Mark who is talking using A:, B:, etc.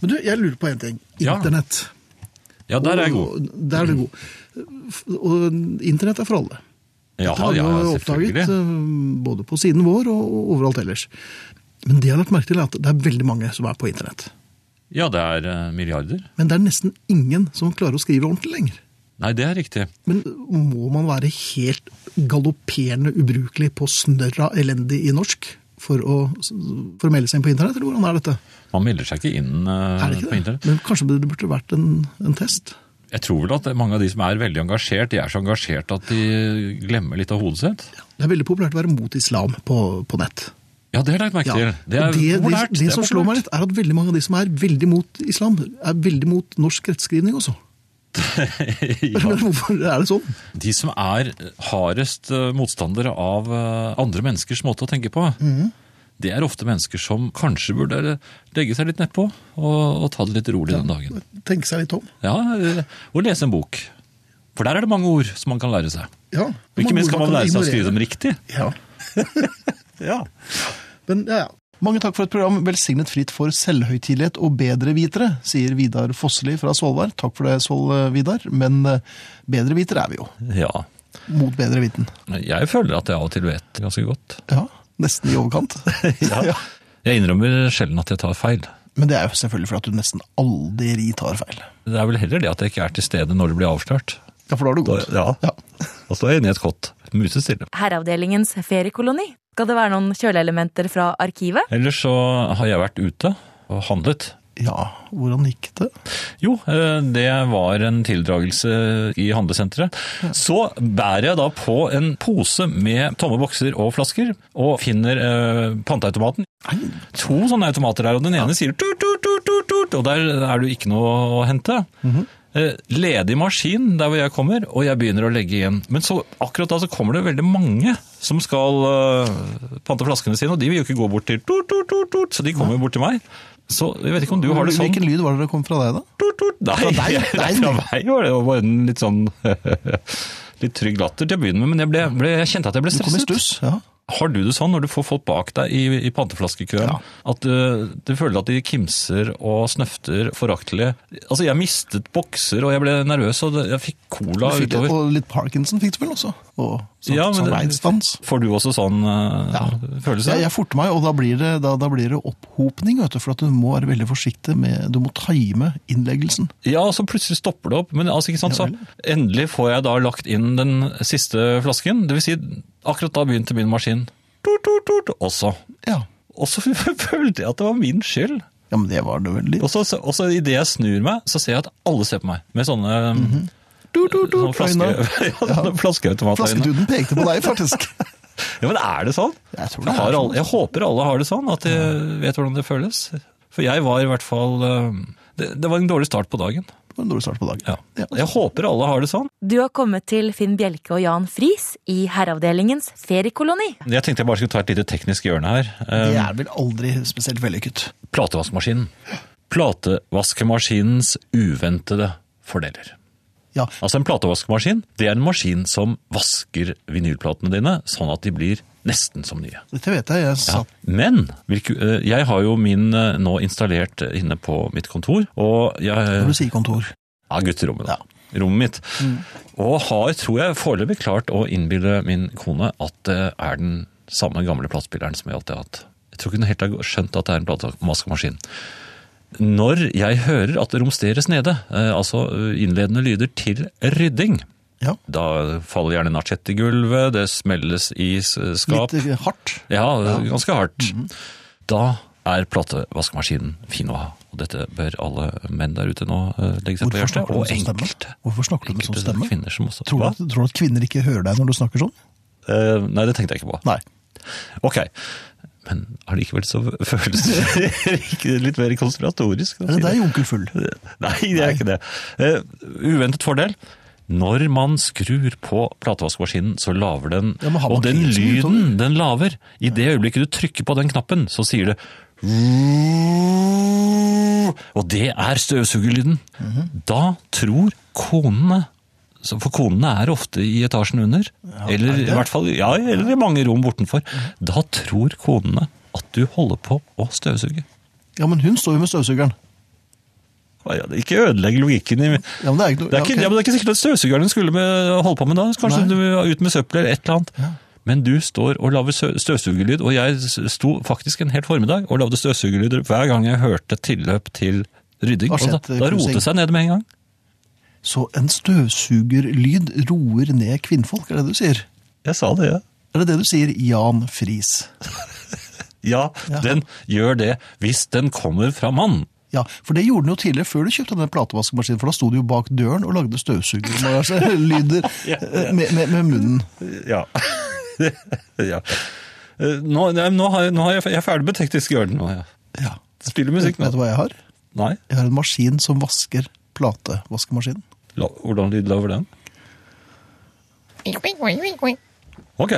A: Men du, jeg lurer på én ting.
B: Ja.
A: Internett.
B: Ja, der er jeg god.
A: Og, der er du god. Og internett er for alle.
B: Ja,
A: Dette har vi
B: ja,
A: jo oppdaget
B: selvfølgelig.
A: eh, både på siden vår og og overalt ellers. Men det jeg har lagt merke til er at det er veldig mange som er på internett.
B: Ja, det er eh, milliarder.
A: Men det er nesten ingen som klarer å skrive ordentlig lenger.
B: Nei, det er riktig.
A: Men må man være helt galopperende ubrukelig på snørra elendig i norsk for å, for å melde seg inn på internett, eller hvordan er dette?
B: Man melder seg ikke inn eh,
A: Er det ikke
B: på
A: det?
B: internett.
A: Men kanskje det burde vært en, en test?
B: Jeg tror vel at mange av de som er veldig engasjert, de er så engasjert at de glemmer litt av hodet sitt.
A: Det er veldig populært å være mot islam på, på nett.
B: Ja, det har jeg lagt
A: Ja.
B: merke til. Det er
A: Og det, det,
B: populært.
A: det, som slår meg litt, er at veldig mange av de som er veldig mot islam, er veldig mot norsk rettskrivning også.
B: litt
A: Men Hvorfor er det sånn?
B: De som er hardest eh, motstandere av eh, andre menneskers måte å tenke på,
A: Mhm.
B: det er ofte mennesker som kanskje burde legge seg litt nedpå og, og ta det litt rolig den dagen.
A: Tenke seg litt om.
B: Ja, eh, og lese en bok. For der er det mange ord som man kan lære seg.
A: Ja.
B: Og ikke minst kan man lære seg å skrive dem riktig.
A: Ja.
B: Ja.
A: Men, ja, ja. Mange takk for et program velsignet fritt for selvhøytidelighet og bedrevitere, sier Vidar Fosseli fra Svolvær. Takk for det, Sol Vidar. Men eh, bedrevitere er vi jo.
B: ja.
A: Mot bedre viten.
B: Jeg føler at jeg av og til vet ganske godt.
A: Ja, nesten i overkant.
B: Ja. Jeg innrømmer sjelden at jeg tar feil.
A: Men det er jo selvfølgelig fordi at du nesten aldri tar feil.
B: Det er vel heller det at jeg ikke er til stede når det blir avslørt.
A: Ja, for da har du gått.
B: Da- ja. Da står jeg inne i et kott, musestille.
C: Herreavdelingens feriekoloni. Skal det være noen kjøleelementer fra arkivet?
B: Ellers så har jeg vært ute og handlet.
A: Ja, hvordan gikk det?
B: Jo, eh, det var en tildragelse i handlesenteret. Så bærer jeg da på en pose med tomme bokser og flasker, og finner eh, panteautomaten. To sånne automater der, og den ene sier tut, tut, tut, tut, tut, og der er det jo ikke noe å hente. Eh, Ledig maskin der hvor jeg kommer, og jeg begynner å legge igjen. Men så, akkurat da så kommer det veldig mange som skal eh, pante flaskene sine, og de vil jo ikke gå bort til tut, tut, tut, tut, så de kommer jo bort til meg. Så jeg vet ikke om du har det sånn.
A: Hvilken lyd var det det kom fra deg, da?
B: Tut, tut. Nei,
A: Fra deg?
B: Nei, fra meg var det jo bare en litt sånn litt trygg latter til å begynne med, men jeg, ble, ble, jeg kjente at jeg ble
A: Du kom i
B: stresset.
A: stuss. Ja.
B: Har du det sånn når du får folk bak deg i, i panteflaskekøen,
A: Ja.
B: at uh, du føler at de kimser og snøfter foraktelig? Altså, jeg mistet bokser, og jeg ble nervøs, og det- jeg fikk
A: Du
B: cola
A: fikk litt,
B: utover.
A: og litt Parkinson fikk du vel også? Og sånn,
B: Ja, men
A: sånn
B: det-
A: veinsdans.
B: Får du også sånn uh,
A: Ja.
B: følelse?
A: Jeg, jeg forter meg, og da blir det, da, da blir det opphopning, vet du, for at du må være veldig forsiktig med Du må time innleggelsen.
B: Ja, og så plutselig stopper det opp. Men altså, ikke sant, så endelig får jeg da lagt inn den siste flasken. Det vil si, akkurat da begynte min maskin tut, tut, tut, også.
A: Ja.
B: Og så følte jeg at det var min skyld.
A: ja, men det var det vel
B: Og
A: litt.
B: så, og så idet jeg snur meg, så ser jeg at alle ser på meg med sånne,
A: Mhm. Du, du, du,
B: sånne, flaske,
A: øyne.
B: ja, sånne flaskeautomatøyne.
A: Flasketuten Sånn pekte på deg, faktisk.
B: Ja, men er det sånn?
A: Jeg tror det
B: har
A: er sånn.
B: alle, jeg håper alle har det sånn, at de vet hvordan det føles. For jeg var i hvert fall eh, Det, det var en dårlig start på dagen.
A: Det var en dårlig start på dagen.
B: Ja. Jeg håper alle har det sånn.
C: Du har kommet til Finn Bjelke og Jan Friis i Herreavdelingens feriekoloni.
B: Jeg tenkte jeg bare skulle ta et lite teknisk hjørne her. Eh,
A: Det er vel aldri spesielt vellykket.
B: Platevaskemaskinen. Platevaskemaskinens uventede fordeler.
A: Ja,
B: Altså En platevaskemaskin det er en maskin som vasker vinylplatene dine sånn at de blir nesten som nye.
A: dette vet jeg. Jeg
B: Ja.
A: satt
B: Men hvilke- eh, jeg har jo min eh, nå installert inne på mitt kontor. Og jeg,
A: når du sier kontor.
B: ja, gutterommet, da. Rommet mitt. Og har, tror jeg, foreløpig klart å innbille min kone at det er den samme gamle platespilleren som jeg alltid har hatt. Jeg tror ikke hun helt har skjønt at det er en platevaskemaskin. Når jeg hører at det romsteres nede, eh, altså eh, innledende lyder til rydding,
A: Ja.
B: da faller gjerne nachett i gulvet, det smelles i s- skap.
A: Litt eh, hardt.
B: Ja, ganske hardt.
A: Mhm.
B: Da er platevaskemaskinen fin å ha. Og dette bør alle menn der ute nå eh, legge seg på
A: Hvorfor
B: hjertet.
A: snakker du
B: Og
A: med sånn
B: enkelte.
A: stemme? Hvorfor snakker du med sånn
B: Enkelte
A: stemme?
B: kvinner som også
A: Tror
B: Hva?
A: du, at, tror du at kvinner ikke hører deg når du snakker sånn?
B: Eh, Nei, det tenkte jeg ikke på.
A: Nei.
B: Ok. Men allikevel så føles det ikke litt mer konspiratorisk. å
A: Er
B: si
A: det deg, onkel Full?
B: Nei, det er ikke det. Eh, uventet fordel. Når man skrur på platevaskemaskinen, så laver den
A: Ja, men har man
B: Og den
A: knivsen utover?
B: lyden den laver, i det øyeblikket du trykker på den knappen, så sier det Og det er støvsugerlyden. Da tror konene så- For konene er ofte i etasjen under, eller i hvert fall ja, eller i mange rom bortenfor. Da tror konene at du holder på å støvsuge.
A: Ja, men hun står jo med støvsugeren.
B: Ikke ødelegg logikken i
A: Ja, men det er ikke noe...
B: det er, ikke,
A: ja,
B: ja,
A: ok.
B: men det er ikke sikkert at støvsugeren skulle med, holde på med da. Kanskje
A: Nei.
B: du er ute med søppel eller et eller annet. Men du står og lager sø- støvsugerlyd, og jeg s- sto faktisk en hel formiddag og lagde støvsugerlyder hver gang jeg hørte tilløp til rydding.
A: Hva
B: Og da,
A: skjedde,
B: da
A: Kosing?
B: rotet det seg ned med en gang.
A: Så en støvsugerlyd roer ned kvinnfolk, er det det du sier?
B: Jeg sa det, ja.
A: Er det det du sier, Jan Friis?
B: Ja,
A: Ja.
B: den gjør det hvis den kommer fra mann.
A: Ja, for det gjorde den jo tidligere før du kjøpte denne platevaskemaskinen, for da sto du jo bak døren og lagde støvsugerlyder
B: Ja, ja.
A: med, med, med munnen.
B: Ja. ja. Eh, Nå, nei, nå, har, jeg- nå har jeg, jeg er ferdig med teknisk hjørne nå. Ja.
A: Ja.
B: Spiller musikk
A: Vet
B: nå.
A: du hva jeg har?
B: Nei,
A: Jeg har en maskin som vasker platevaskemaskinen.
B: La, hvordan lyd lager den?
D: Wink, wink, wink, wink, wink.
B: Ok.